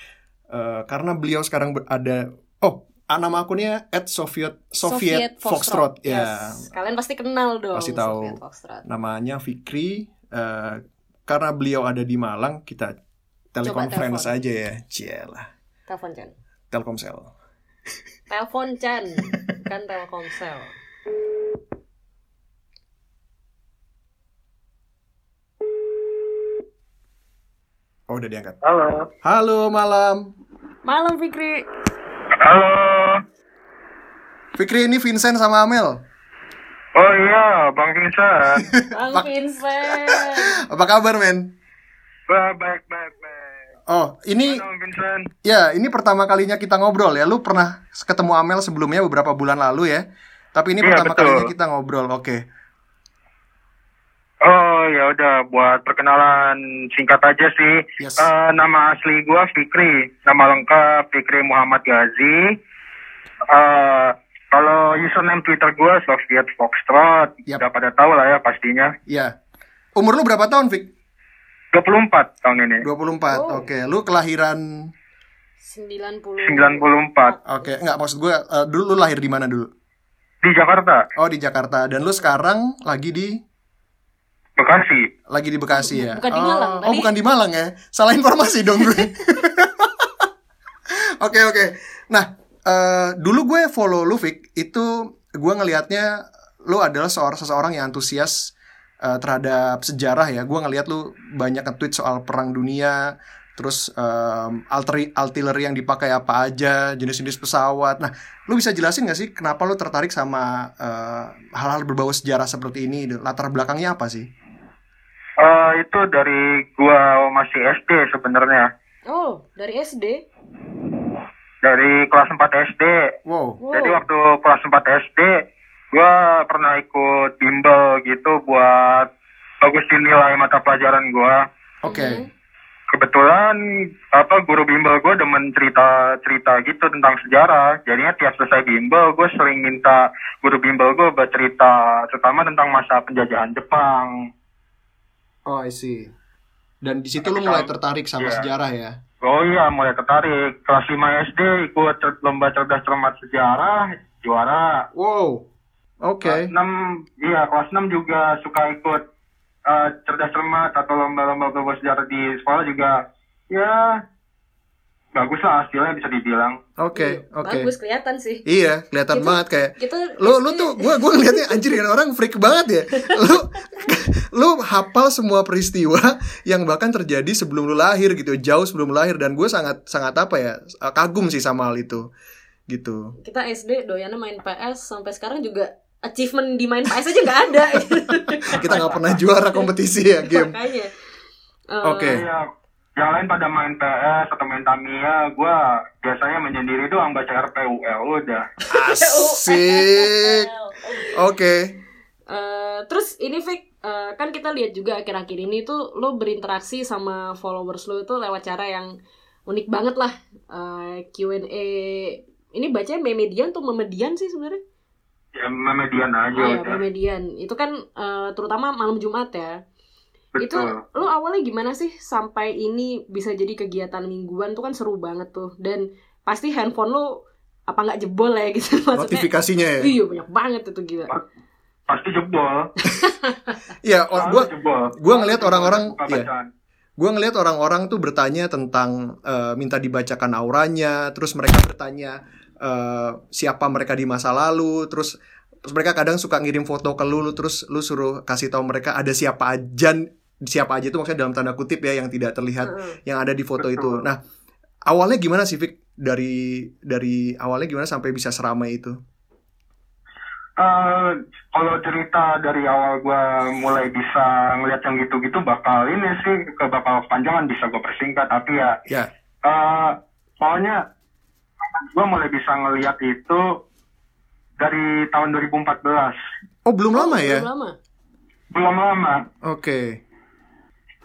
S2: eh, karena beliau sekarang berada, oh ah, nama akunnya at Soviet Soviet, Foxtrot ya,
S3: Yes. Kalian pasti kenal dong.
S2: Pasti tahu.
S3: Soviet Foxtrot.
S2: namanya Fikri. Eh, karena beliau ada di Malang, kita telekonferensi
S3: telepon.
S2: aja ya, cielah,
S3: Telepon Chan.
S2: Telkomsel.
S3: Telepon Chan, bukan Telkomsel.
S2: Oh udah diangkat.
S1: Halo.
S2: Halo malam,
S3: Malam Fikri.
S1: Halo.
S2: Fikri ini Vincent sama Amel.
S1: Oh iya, Bang Vincent.
S3: Bang Vincent.
S2: Apa kabar men?
S1: Wah, baik, baik, baik.
S2: Oh ini
S1: Halo, Bang Vincent.
S2: Ya, ini pertama kalinya kita ngobrol ya. Lu pernah ketemu Amel sebelumnya beberapa bulan lalu ya. Tapi ini
S1: Iya,
S2: pertama
S1: betul.
S2: kalinya kita ngobrol. Oke.
S1: Oh ya udah, buat perkenalan singkat aja sih.
S2: Yes.
S1: Eh, nama asli gua Fikri, nama lengkap Fikri Muhammad Ghazi. Eh, kalau username Twitter gua Soviet Foxtrot,
S2: Yap.
S1: udah pada tahu lah ya pastinya.
S2: Ya. Umur lu berapa tahun, Vic?
S1: 24 tahun ini.
S2: 24.
S3: Oh.
S2: Oke. Lu kelahiran
S3: 90.
S1: 94.
S2: Oke, nggak maksud gue eh, dulu lu lahir di mana dulu?
S1: di Jakarta,
S2: Oh di Jakarta dan lu sekarang lagi di
S1: Bekasi.
S2: lagi di Bekasi ya?
S3: Bukan di
S2: oh,
S3: Malang,
S2: Oh
S3: tadi-
S2: bukan di Malang ya? Salah informasi dong gue. Oke oke. Nah eh, dulu gue follow lu Vic itu gue ngelihatnya lu adalah seorang seseorang yang antusias eh, terhadap sejarah ya. Gue ngelihat lu banyak nge-tweet soal perang dunia, terus em, alteri- artillery yang dipakai apa aja, jenis-jenis pesawat. Nah, lu bisa jelasin nggak sih kenapa lu tertarik sama eh, hal-hal berbau sejarah seperti ini? Latar belakangnya apa sih?
S1: Eh, itu dari gua masih SD sebenarnya.
S3: Oh, dari SD.
S1: Dari kelas 4 SD.
S2: Wow.
S3: Wow.
S1: Jadi waktu kelas 4 SD, gua pernah ikut bimbel gitu buat bagusin nilai mata pelajaran gua.
S2: Oke.
S1: Kebetulan apa guru bimbel gua demen cerita-cerita gitu tentang sejarah. Jadinya tiap selesai bimbel, gua sering minta guru bimbel gua bercerita terutama tentang masa penjajahan Jepang.
S2: Oh, I see. Dan di situ lu mulai tertarik sama
S1: Iya.
S2: sejarah ya.
S1: Oh iya, mulai tertarik. Kelas 5 SD ikut cer- lomba cerdas cermat sejarah, juara.
S2: Wow. Oke.
S1: Kelas 6, iya kelas 6 juga suka ikut eh, cerdas cermat atau lomba-lomba lomba sejarah di sekolah juga. Ya, bagus lah hasilnya bisa dibilang.
S2: Oke,
S3: Iya,
S2: oke.
S3: Bagus Gitu. kelihatan sih.
S2: Iya, kelihatan
S3: Itu-
S2: banget kayak
S3: Kita
S2: lu lu tuh gua gua ngeliatnya anjir kan orang freak banget ya. Lu lu hafal semua peristiwa yang bahkan terjadi sebelum lu lahir gitu, jauh sebelum lu lahir dan gue sangat sangat apa ya, kagum sih sama hal itu. Gitu.
S3: kita SD doyannya main PS sampai sekarang juga achievement di main PS aja nggak ada.
S2: Kita nggak pernah juara kompetisi ya game.
S3: Makanya. Eh,
S2: Oke.
S1: Iya, yang lain pada main PS atau main Tamiya, gue biasanya menyendiri doang baca RPUL udah.
S2: Asik. Oke.
S3: Eh, terus ini Vic, eh, kan kita lihat juga akhir-akhir ini tuh lo berinteraksi sama followers lo itu lewat cara yang unik banget lah. Eh, Q&A ini bacanya memedian atau memedian sih sebenarnya?
S1: Ya, memedian aja
S3: Iya,
S1: udah.
S3: memedian. Itu kan eh, terutama malam Jumat ya. Itu
S1: Betul.
S3: lo awalnya gimana sih sampai ini bisa jadi kegiatan mingguan tuh kan seru banget tuh. Dan pasti handphone lo apa nggak jebol ya gitu maksudnya.
S2: Notifikasinya ya.
S3: Iya banyak banget itu gila.
S1: Pasti jebol.
S2: Iya,
S1: Selalu
S2: or- gua
S1: jebol.
S2: gua ngeliat orang-orang
S1: Buka
S2: ya,
S1: bacaan.
S2: Gue ngelihat orang-orang tuh bertanya tentang eh, minta dibacakan auranya, terus mereka bertanya eh, siapa mereka di masa lalu, terus terus mereka kadang suka ngirim foto ke lu, lu terus lu suruh kasih tahu mereka ada siapa aja siapa aja itu maksudnya dalam tanda kutip ya yang tidak terlihat
S3: Heeh.
S2: yang ada di foto itu.
S1: Betul.
S2: Nah, awalnya gimana sih Vic dari dari awalnya gimana sampai bisa seramai itu?
S1: Eh, kalau cerita dari awal gua mulai bisa ngeliat yang gitu-gitu bakal ini sih ke bakal panjangan bisa gue persingkat tapi ya
S2: Ya.
S1: eh soalnya gua mulai bisa ngeliat itu dari tahun 2014
S2: Oh, belum lama ya?
S3: Belum lama.
S1: belum lama
S2: Oke.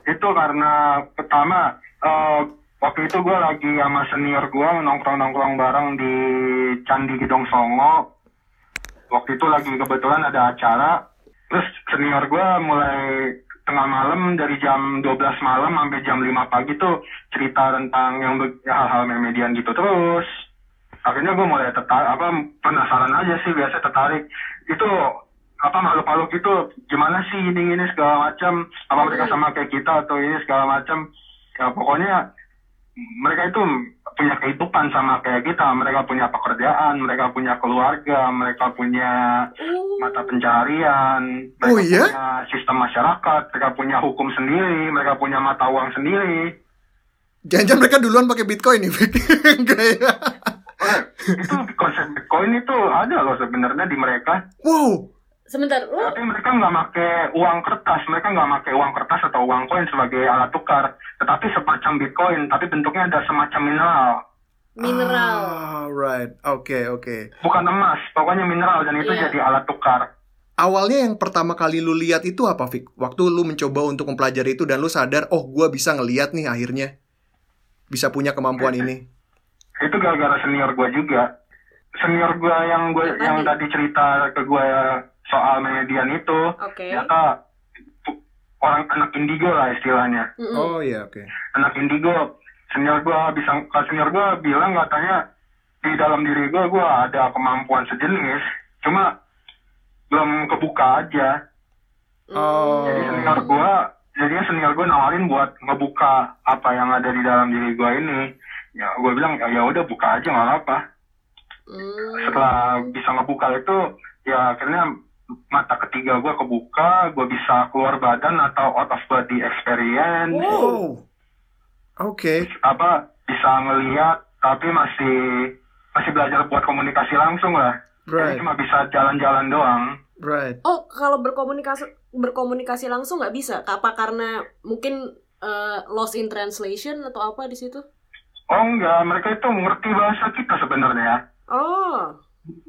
S1: itu karena pertama eh, waktu itu gua lagi sama senior gua nongkrong-nongkrong bareng di Candi Gedong Songo waktu itu lagi kebetulan ada acara terus senior gua mulai tengah malam dari jam 12 malam sampai jam 5 pagi tuh cerita tentang yang be- hal-hal memedian gitu terus akhirnya gue mulai tertarik apa penasaran aja sih biasa tertarik itu apa makhluk-makhluk itu gimana sih ini ini segala macam apa mereka sama kayak kita atau ini segala macam ya, pokoknya mereka itu punya kehidupan sama kayak kita mereka punya pekerjaan mereka punya keluarga mereka punya
S3: Oh.
S1: mata pencarian mereka
S2: Oh, iya?
S1: punya sistem masyarakat mereka punya hukum sendiri mereka punya mata uang sendiri
S2: Jangan-jangan mereka duluan pakai Bitcoin nih, Vic. Enggak ya?
S1: Eh, itu konsep Bitcoin itu ada loh sebenarnya di mereka
S3: Oh.
S2: Wow.
S3: Sebentar, lo
S1: Tapi mereka nggak pakai uang kertas, mereka nggak pakai uang kertas atau uang koin sebagai alat tukar, tetapi semacam bitcoin, tapi bentuknya ada semacam mineral,
S3: mineral.
S2: Alright, oke Ah, oke.
S1: bukan emas, pokoknya mineral dan itu
S3: Iya.
S1: jadi alat tukar.
S2: Awalnya yang pertama kali lu lihat itu apa, Fik? Waktu lu mencoba untuk mempelajari itu dan lu sadar, oh gua bisa ngeliat nih akhirnya bisa punya kemampuan ini.
S1: Itu gara-gara senior gue juga. Senior gue yang gue
S3: Yang
S1: yang
S3: tadi.
S1: tadi cerita ke gue soal median itu,
S3: Ah, Oke.
S1: ternyata orang anak indigo lah istilahnya.
S3: Mm-mm.
S2: Oh iya, oke.
S1: anak indigo senior gua bisa senior gua bilang katanya di dalam diri gua gua ada kemampuan sejenis cuma belum kebuka aja
S2: Oh.
S1: jadi senior gua jadinya senior gua nawarin buat ngebuka apa yang ada di dalam diri gua ini ya gua bilang ya udah buka aja nggak apa
S3: Hmm.
S1: setelah bisa ngebuka itu ya akhirnya mata ketiga gua kebuka gua bisa keluar badan atau out of body experience
S2: Oh. Wow. Oke.
S1: apa bisa ngelihat tapi masih masih belajar buat komunikasi langsung lah
S2: Right.
S1: Jadi cuma bisa jalan-jalan doang
S2: Right.
S3: Oh, kalau berkomunikasi berkomunikasi langsung nggak bisa? Apa karena mungkin eh, lost in translation atau apa di situ?
S1: oh enggak mereka itu ngerti bahasa kita sebenarnya ya
S3: Oh,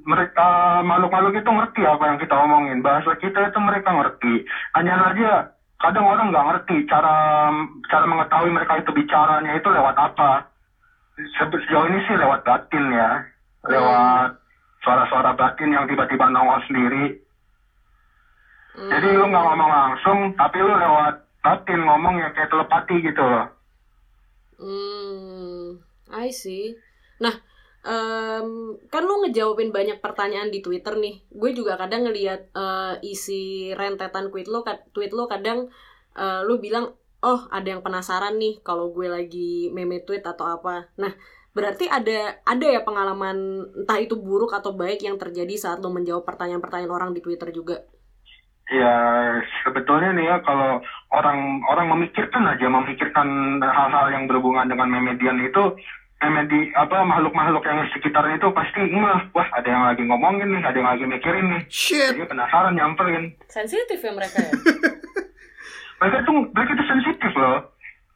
S1: mereka makhluk-makhluk itu ngerti apa yang kita omongin bahasa kita itu mereka ngerti hanya aja kadang orang nggak ngerti cara cara mengetahui mereka itu bicaranya itu lewat apa Se- sejauh ini sih lewat batin ya lewat suara-suara batin yang tiba-tiba nongol sendiri
S3: Hmm.
S1: jadi lu nggak ngomong langsung tapi lu lewat batin ngomong ya kayak telepati gitu loh
S3: Hmm, I see. Nah, em, kan lu ngejawabin banyak pertanyaan di Twitter nih. Gue juga kadang ngelihat eh, isi rentetan tweet lo, kad- tweet lo kadang eh, lu bilang, oh ada yang penasaran nih kalau gue lagi meme tweet atau apa. Nah, berarti ada ada ya pengalaman entah itu buruk atau baik yang terjadi saat lo menjawab pertanyaan-pertanyaan orang di Twitter juga.
S1: Ya sebetulnya nih ya kalau orang orang memikirkan aja memikirkan hal-hal yang berhubungan dengan memedian itu memedi apa makhluk-makhluk yang di sekitarnya itu pasti ngeh wah ada yang lagi ngomongin nih ada yang lagi mikirin nih
S2: Shit.
S1: jadi penasaran nyamperin
S3: Sensitif ya mereka ya.
S1: mereka tuh mereka itu sensitif loh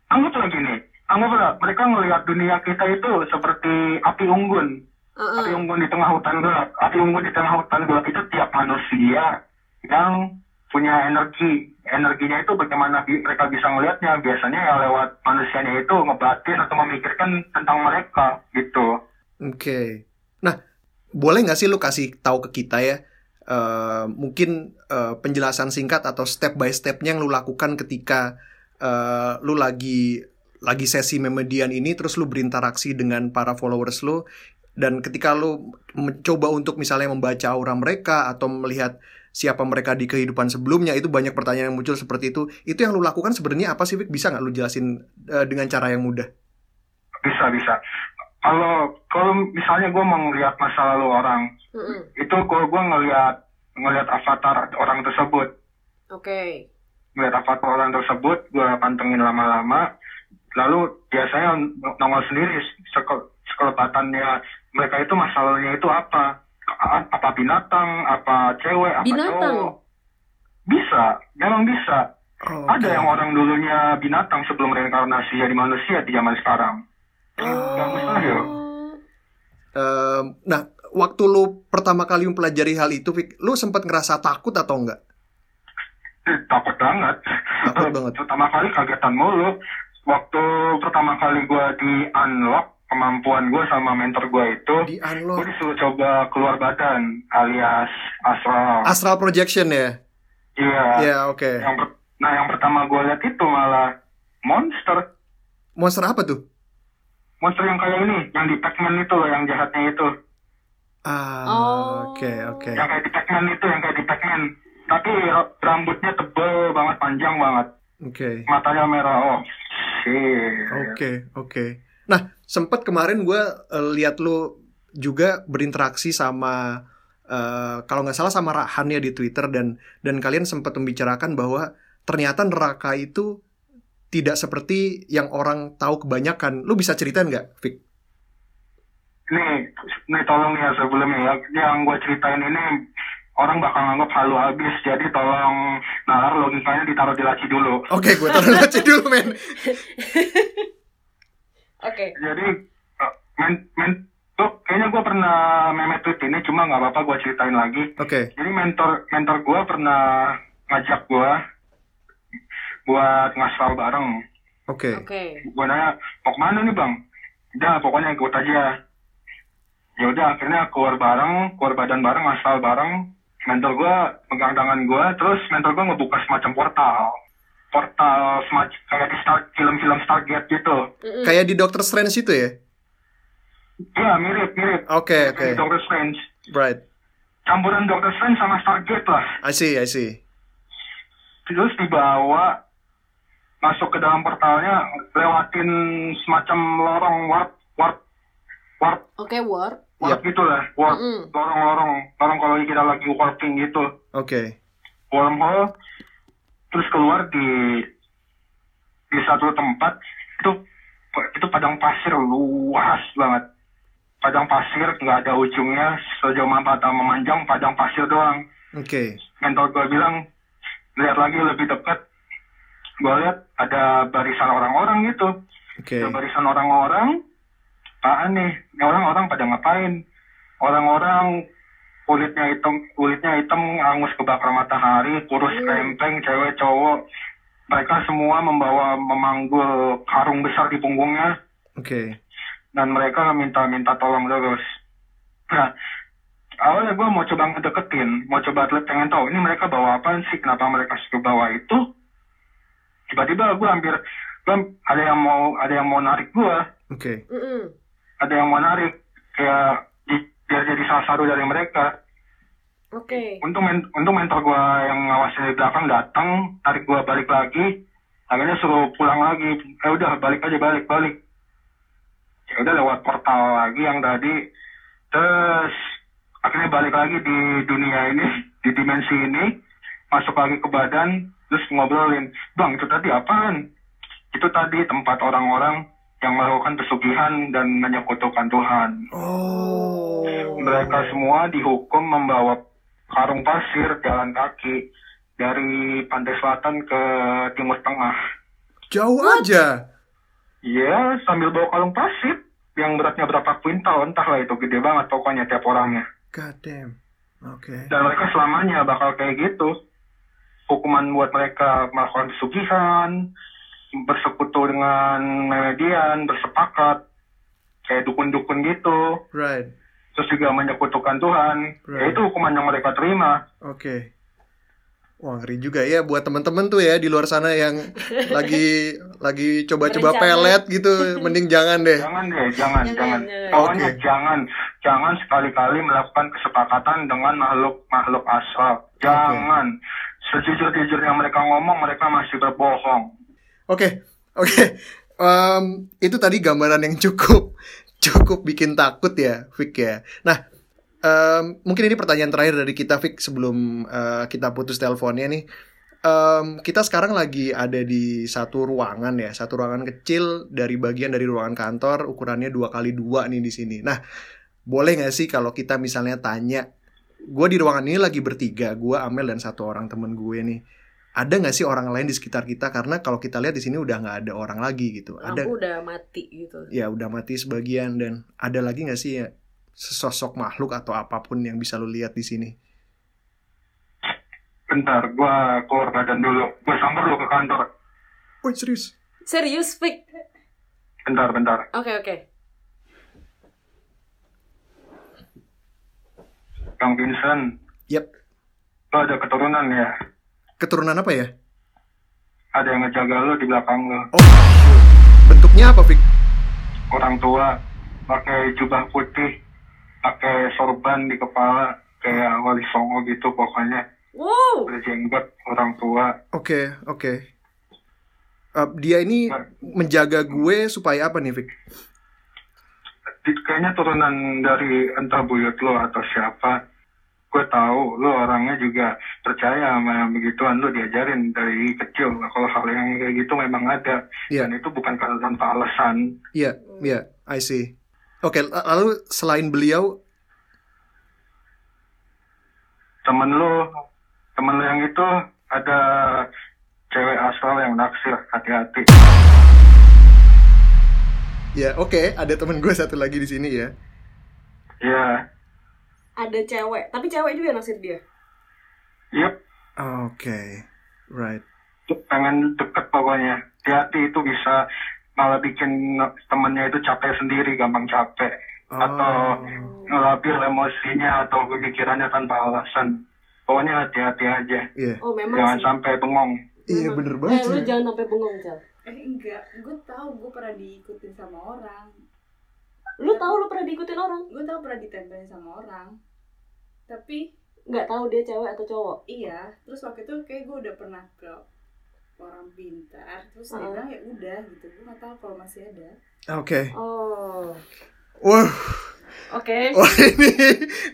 S1: anggaplah gini anggaplah mereka melihat dunia kita itu seperti api unggun api unggun di tengah hutan gelap api unggun di tengah hutan gelap itu tiap manusia yang punya energi energinya itu bagaimana bi- mereka bisa melihatnya biasanya ya lewat manusianya itu ngebatin atau memikirkan tentang mereka gitu
S2: Oke. Nah, boleh nggak sih lu kasih tahu ke kita ya? eh, mungkin eh, penjelasan singkat atau step by stepnya yang lu lakukan ketika eh, lu lagi lagi sesi memedian ini terus lu berinteraksi dengan para followers lu dan ketika lu mencoba untuk misalnya membaca aura mereka atau melihat siapa mereka di kehidupan sebelumnya itu banyak pertanyaan yang muncul seperti itu itu yang lu lakukan sebenarnya apa sih Vic? bisa nggak lu jelasin eh, dengan cara yang mudah
S1: bisa bisa kalau kalau misalnya gue mau ngeliat masa lalu orang
S3: Mm-mm.
S1: itu kalau gue ngeliat ngeliat avatar orang tersebut
S3: Oke.
S1: melihat avatar orang tersebut, gue pantengin lama-lama, lalu biasanya nongol sendiri seke- sekelebatannya mereka itu masalahnya itu apa? A- Apa binatang, apa cewek, apa
S3: Binatang?
S1: cowok? Bisa, memang bisa. Ada yang orang dulunya binatang sebelum reinkarnasi jadi manusia di zaman sekarang. Ah, Nggak ya. mustahil.
S3: Oh.
S2: Ehm, nah, waktu lu pertama kali mempelajari hal itu, Vic, lu sempat ngerasa takut atau enggak?
S1: Eh, takut banget.
S2: Takut banget.
S1: Pertama kali kagetan mulu. Waktu pertama kali gue di unlock kemampuan gue sama mentor gue itu,
S2: Di
S1: Gue
S2: unlock
S1: disuruh coba keluar badan alias astral.
S2: astral projection ya?
S1: Iya.
S2: Ya, oke.
S1: Yang per- nah yang pertama gue lihat itu malah monster,
S2: Monster apa tuh?
S1: monster yang kayak ini, yang di Pac-Man itu loh, yang jahatnya itu,
S2: Ah,
S3: Oh.
S2: oke, oke.
S1: yang kayak di Pac-Man itu, yang kayak di Pac-Man. Tapi ra- rambutnya tebel banget, panjang banget,
S2: Oke.
S1: matanya merah. Oh, shit.
S2: Oke, oke. Nah, sempat kemarin gue lihat lu juga berinteraksi sama eh, kalau nggak salah sama Rahan ya di Twitter dan dan kalian sempat membicarakan bahwa ternyata neraka itu tidak seperti yang orang tahu kebanyakan. Lu bisa ceritain nggak, Vic?
S1: Nih, nih tolong ya sebelumnya ya, yang gue ceritain ini orang bakal nganggap halu habis, jadi tolong nalar logikanya ditaruh di laci dulu.
S2: Oke, gue taruh laci dulu, men.
S3: Oke.
S1: jadi eh, men men tuh kayaknya gue pernah meme tweet ini cuma nggak apa-apa gue ceritain lagi
S2: Oke.
S1: jadi mentor mentor gue pernah ngajak gue buat ngasal bareng
S2: Oke.
S3: Oke.
S1: gue nanya mau kemana nih bang udah pokoknya ikut aja ya udah akhirnya keluar bareng keluar badan bareng ngasal bareng mentor gue pegang tangan gue terus mentor gue ngebuka semacam portal portal semacam kayak di Star, film-film Stargate gitu
S3: Mm-mm.
S2: Kayak di Doctor Strange itu ya?
S1: iya mirip mirip
S2: Oke,
S1: Iya,
S2: oke.
S1: Kayak Doctor Strange
S2: Right.
S1: campuran Doctor Strange sama Stargate lah
S2: I see, I see.
S1: terus dibawa masuk ke dalam portalnya lewatin semacam lorong warp warp warp
S3: Oke, war.
S1: warp gitulah warp
S3: Mm-mm.
S1: lorong-lorong lorong kalau kita lagi warping gitu
S2: Oke.
S1: wormhole terus keluar di di satu tempat itu itu padang pasir luas banget padang pasir nggak ada ujungnya sejauh mata memanjang padang pasir doang
S2: Oke.
S1: mentor gue bilang lihat lagi lebih dekat gue lihat ada barisan orang-orang gitu
S2: Oke.
S1: ada barisan orang-orang apaan nih Ini orang-orang pada ngapain orang-orang kulitnya hitam kulitnya hitam angus kebakar matahari kurus rempeng cewek cowok mereka semua membawa memanggul karung besar di punggungnya
S2: Oke.
S1: dan mereka minta-minta tolong terus. Nah, awalnya gue mau coba ngedeketin, mau coba lihat pengen tahu ini mereka bawa apaan sih, kenapa mereka suka bawa itu. Tiba-tiba gue hampir, gue ada yang mau ada yang mau narik gue,
S2: Oke.
S3: Mm-mm.
S1: ada yang mau narik kayak di- biar jadi salah satu dari mereka.
S3: Oke.
S1: Untung men, untung mentor gue yang ngawasin di belakang datang, tarik gue balik lagi, akhirnya suruh pulang lagi. Eh udah balik aja balik balik. Ya udah lewat portal lagi yang tadi, terus akhirnya balik lagi di dunia ini, di dimensi ini, masuk lagi ke badan, terus ngobrolin, bang itu tadi apaan? Itu tadi tempat orang-orang yang melakukan pesugihan dan menyekutukan Tuhan
S2: Oh.
S1: mereka semua dihukum membawa karung pasir jalan kaki dari pantai selatan ke timur tengah.
S2: Jauh aja.
S1: Iya, sambil bawa karung pasir yang beratnya berapa kuintal, entahlah itu gede banget pokoknya tiap orangnya.
S2: God damn. Oke.
S1: Dan mereka selamanya bakal kayak gitu. Hukuman buat mereka melakukan pesugihan, bersekutu dengan median, bersepakat, kayak dukun-dukun gitu.
S2: Right.
S1: Terus juga menyekutukan Tuhan. Ya,
S2: Right.
S1: itu hukuman yang mereka terima.
S2: Oke. Wah ngeri juga ya buat temen-temen tuh ya di luar sana yang lagi lagi coba-coba
S3: Berencana.
S2: pelet gitu, mending jangan deh.
S1: Jangan deh, jangan,
S3: Jangan,
S1: jangan.
S3: jangan.
S1: Pokoknya
S2: Oke.
S1: jangan, jangan sekali-kali melakukan kesepakatan dengan makhluk-makhluk asal. Jangan. Sejujur-jujurnya mereka ngomong, mereka masih berbohong.
S2: Oke, oke. Em, itu tadi gambaran yang cukup cukup bikin takut ya, Fik ya. Nah, em, mungkin ini pertanyaan terakhir dari kita, Fik, sebelum eh, kita putus teleponnya nih. Em, kita sekarang lagi ada di satu ruangan ya, satu ruangan kecil dari bagian dari ruangan kantor, ukurannya dua kali dua nih di sini. Nah, boleh nggak sih kalau kita misalnya tanya, gue di ruangan ini lagi bertiga, gue Amel dan satu orang temen gue nih ada nggak sih orang lain di sekitar kita karena kalau kita lihat di sini udah nggak ada orang lagi gitu ada
S3: Lampu udah mati gitu.
S2: ya udah mati sebagian dan ada lagi nggak sih ya sesosok makhluk atau apapun yang bisa lu lihat di sini
S1: Bentar, gua keluar badan dulu. Gua samper dulu ke kantor.
S2: woi serius
S3: Serius, Fik?
S1: Bentar, bentar.
S3: Oke, oke.
S1: Kang Vincent,
S2: yap
S1: lo ada keturunan ya?
S2: keturunan apa ya
S1: Ada yang ngejaga lo di belakang lo.
S2: oh bentuknya apa Fik?
S1: Orang tua, pakai jubah putih, pakai sorban di kepala, kayak wali songo gitu pokoknya.
S3: Wow.
S1: Berjenggot orang tua.
S2: oke oke Eh, dia ini menjaga gue supaya apa nih Fik?
S1: Di- kayaknya turunan dari entah buyut lo atau siapa gue tahu lo orangnya juga percaya sama yang begituan lo diajarin dari kecil Nah, kalau hal yang kayak gitu memang ada
S2: Iya.
S1: dan itu bukan karena tanpa alasan
S2: Iya, iya, I see. Oke, l- lalu selain beliau,
S1: temen lo temen lo yang itu ada cewek asal yang naksir hati-hati
S2: ya oke, ada temen gue satu lagi di sini ya.
S1: ya
S3: Ada cewek, tapi cewek juga naksir dia.
S1: yep
S2: Oke, right.
S1: pengen deket pokoknya hati-hati itu bisa malah bikin temennya itu capek sendiri gampang capek
S2: Oh.
S1: atau
S3: Oh.
S1: ngelabir emosinya atau pikirannya tanpa alasan pokoknya hati-hati aja
S2: Iya.
S3: Oh, memang
S1: jangan
S3: sih.
S1: sampai bengong
S2: Iya bener
S3: Eh,
S2: banget.
S3: lu
S2: sih.
S3: jangan sampai bengong, Cel.
S4: Eh enggak, gue tahu gue pernah diikutin sama orang.
S3: Lu tahu lu pernah diikutin orang?
S4: Gue tahu pernah ditempelin sama orang. tapi
S3: nggak tahu dia cewek atau cowok
S4: iya terus waktu itu kayak gue udah pernah ke orang pintar terus dia
S3: Heeh.
S4: bilang ya udah gitu gue nggak tahu kalau masih ada
S2: Oke.
S3: oh
S2: Wah,
S3: oke
S2: wah, Oh, ini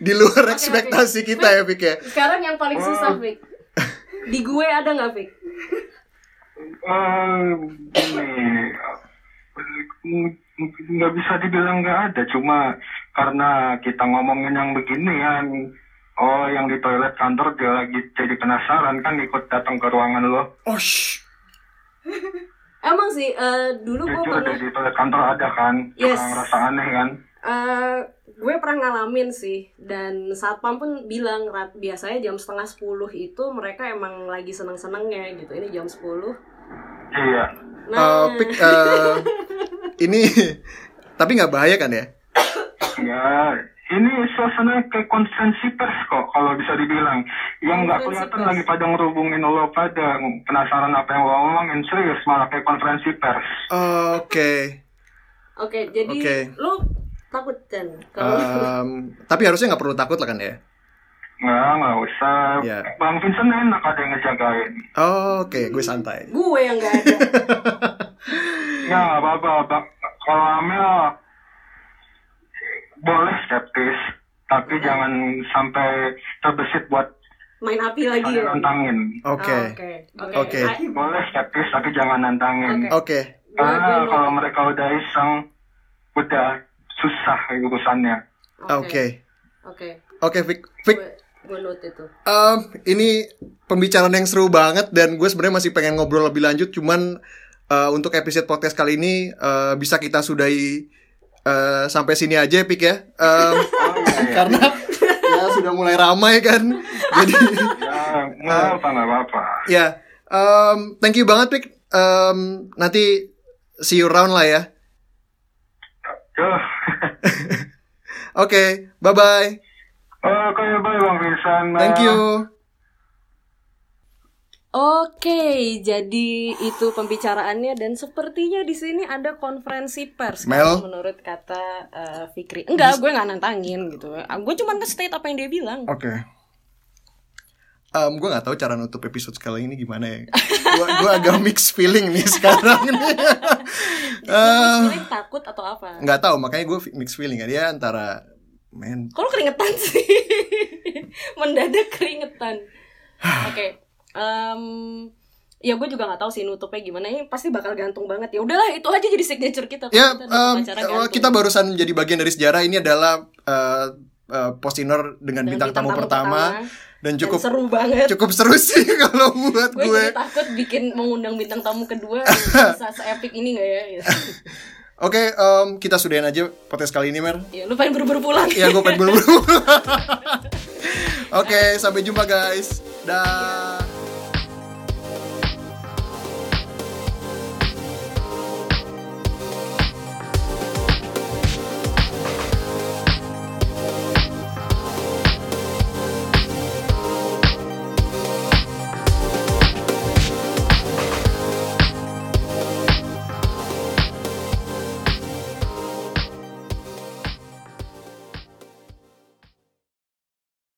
S2: di luar
S3: Oke,
S2: ekspektasi
S3: oke.
S2: kita ya, Pik ya.
S3: sekarang yang paling susah Vic di gue ada nggak Vic
S1: Eh, gini, eh, nggak bisa dibilang nggak ada cuma karena kita ngomongin yang begini yang oh yang di toilet kantor dia lagi jadi penasaran kan ikut datang ke ruangan lo
S2: Oh, shh.
S3: emang sih eh, dulu gue
S1: jujur
S3: pernah
S1: ada di toilet kantor ada kan
S3: Yes.
S1: orang rasa aneh kan
S3: eh, gue pernah ngalamin sih dan satpam pun bilang Rat, biasanya jam setengah sepuluh itu mereka emang lagi seneng senengnya gitu ini jam sepuluh
S1: iya
S2: Eh,
S3: nah
S2: Pik, eh, ini tapi nggak bahaya kan ya?
S1: ya ini suasana ke konferensi pers kok kalau bisa dibilang yang nggak
S3: Konferensi
S1: kelihatan
S3: pers.
S1: lagi pada ngerubungin lo pada penasaran apa yang lo omongin serius malah kayak konferensi pers
S2: Oke.
S3: oke jadi
S2: Oke.
S3: lu takut kan kalau
S2: Em, tapi harusnya nggak perlu takut lah kan ya?
S1: Nggak, nggak usah.
S2: Ya.
S1: Bang Vincent enak ada yang ngejagain.
S2: Oh, Oke, gue santai.
S3: gue yang nggak ada
S1: Ya, nggak apa-apa. Bang. Kalau Amel, boleh skeptis. Tapi jangan sampai terbesit buat
S3: main api lagi
S1: saling
S3: ya?
S1: nantangin.
S2: Oke.
S3: Ah, oke oke
S2: Oke.
S3: Ah,
S1: Boleh skeptis, tapi jangan nantangin.
S3: Oke.
S2: Oke.
S3: gue gue
S1: Karena
S3: note.
S1: Iya, kalau mereka udah iseng, udah susah urusannya.
S2: Oke.
S3: oke
S2: Oke, Pik. Pik,
S3: gue gue note itu
S2: em, ini pembicaraan yang seru banget dan gue sebenarnya masih pengen ngobrol lebih lanjut cuman eh, untuk episode podcast kali ini eh, bisa kita sudahi eh, sampai sini aja, Pik ya. Em,
S1: Oh, iya, iya.
S2: karena ya sudah mulai ramai kan. Jadi
S1: Ya, nggak apa, nggak apa-apa.
S2: Ya, em, thank you banget, Pik. Em, nanti see you round lah ya.
S1: Duh.
S2: Oke, bye bye.
S1: Oke, bye Oh, ya, Bang Vincent.
S2: Thank you.
S3: Oke, jadi itu pembicaraannya dan sepertinya di sini ada konferensi pers
S2: Mel?
S3: kalau menurut kata eh, Fikri. Enggak, gue nggak nantangin gitu. Ah, Gue cuma nge-state apa yang dia bilang.
S2: Oke. Em, gue nggak tahu cara nutup episode kali ini gimana ya. Gue gua agak mixed feeling nih sekarang nih. Eh. Em,
S3: Sebenarnya takut atau apa?
S2: Nggak tahu, makanya gue mixed feeling kan ya antara men.
S3: Kalau keringetan sih, mendadak keringetan. Oke, em, ya gue juga nggak tahu sih nutupnya gimana. Ini pasti bakal gantung banget ya. Udahlah, itu aja jadi signature kita. kalau
S2: Ya,
S3: kita nutup
S2: em,
S3: acara
S2: eh,
S3: gantung.
S2: kita barusan menjadi bagian dari sejarah ini adalah eh eh, postiner dengan,
S3: Dan
S2: bintang, tamu, pertama, dan
S3: Dan
S2: cukup
S3: seru banget.
S2: cukup seru sih kalau buat
S3: gue
S2: gue.
S3: jadi takut bikin mengundang bintang tamu kedua bisa seepik ini gak ya Gitu.
S2: Oke, em, kita sudahin aja podcast kali ini, Mer.
S3: ya lu pengen buru-buru pulang
S2: Ya, gue pengen buru-buru. Oke, sampai jumpa, guys. Dah.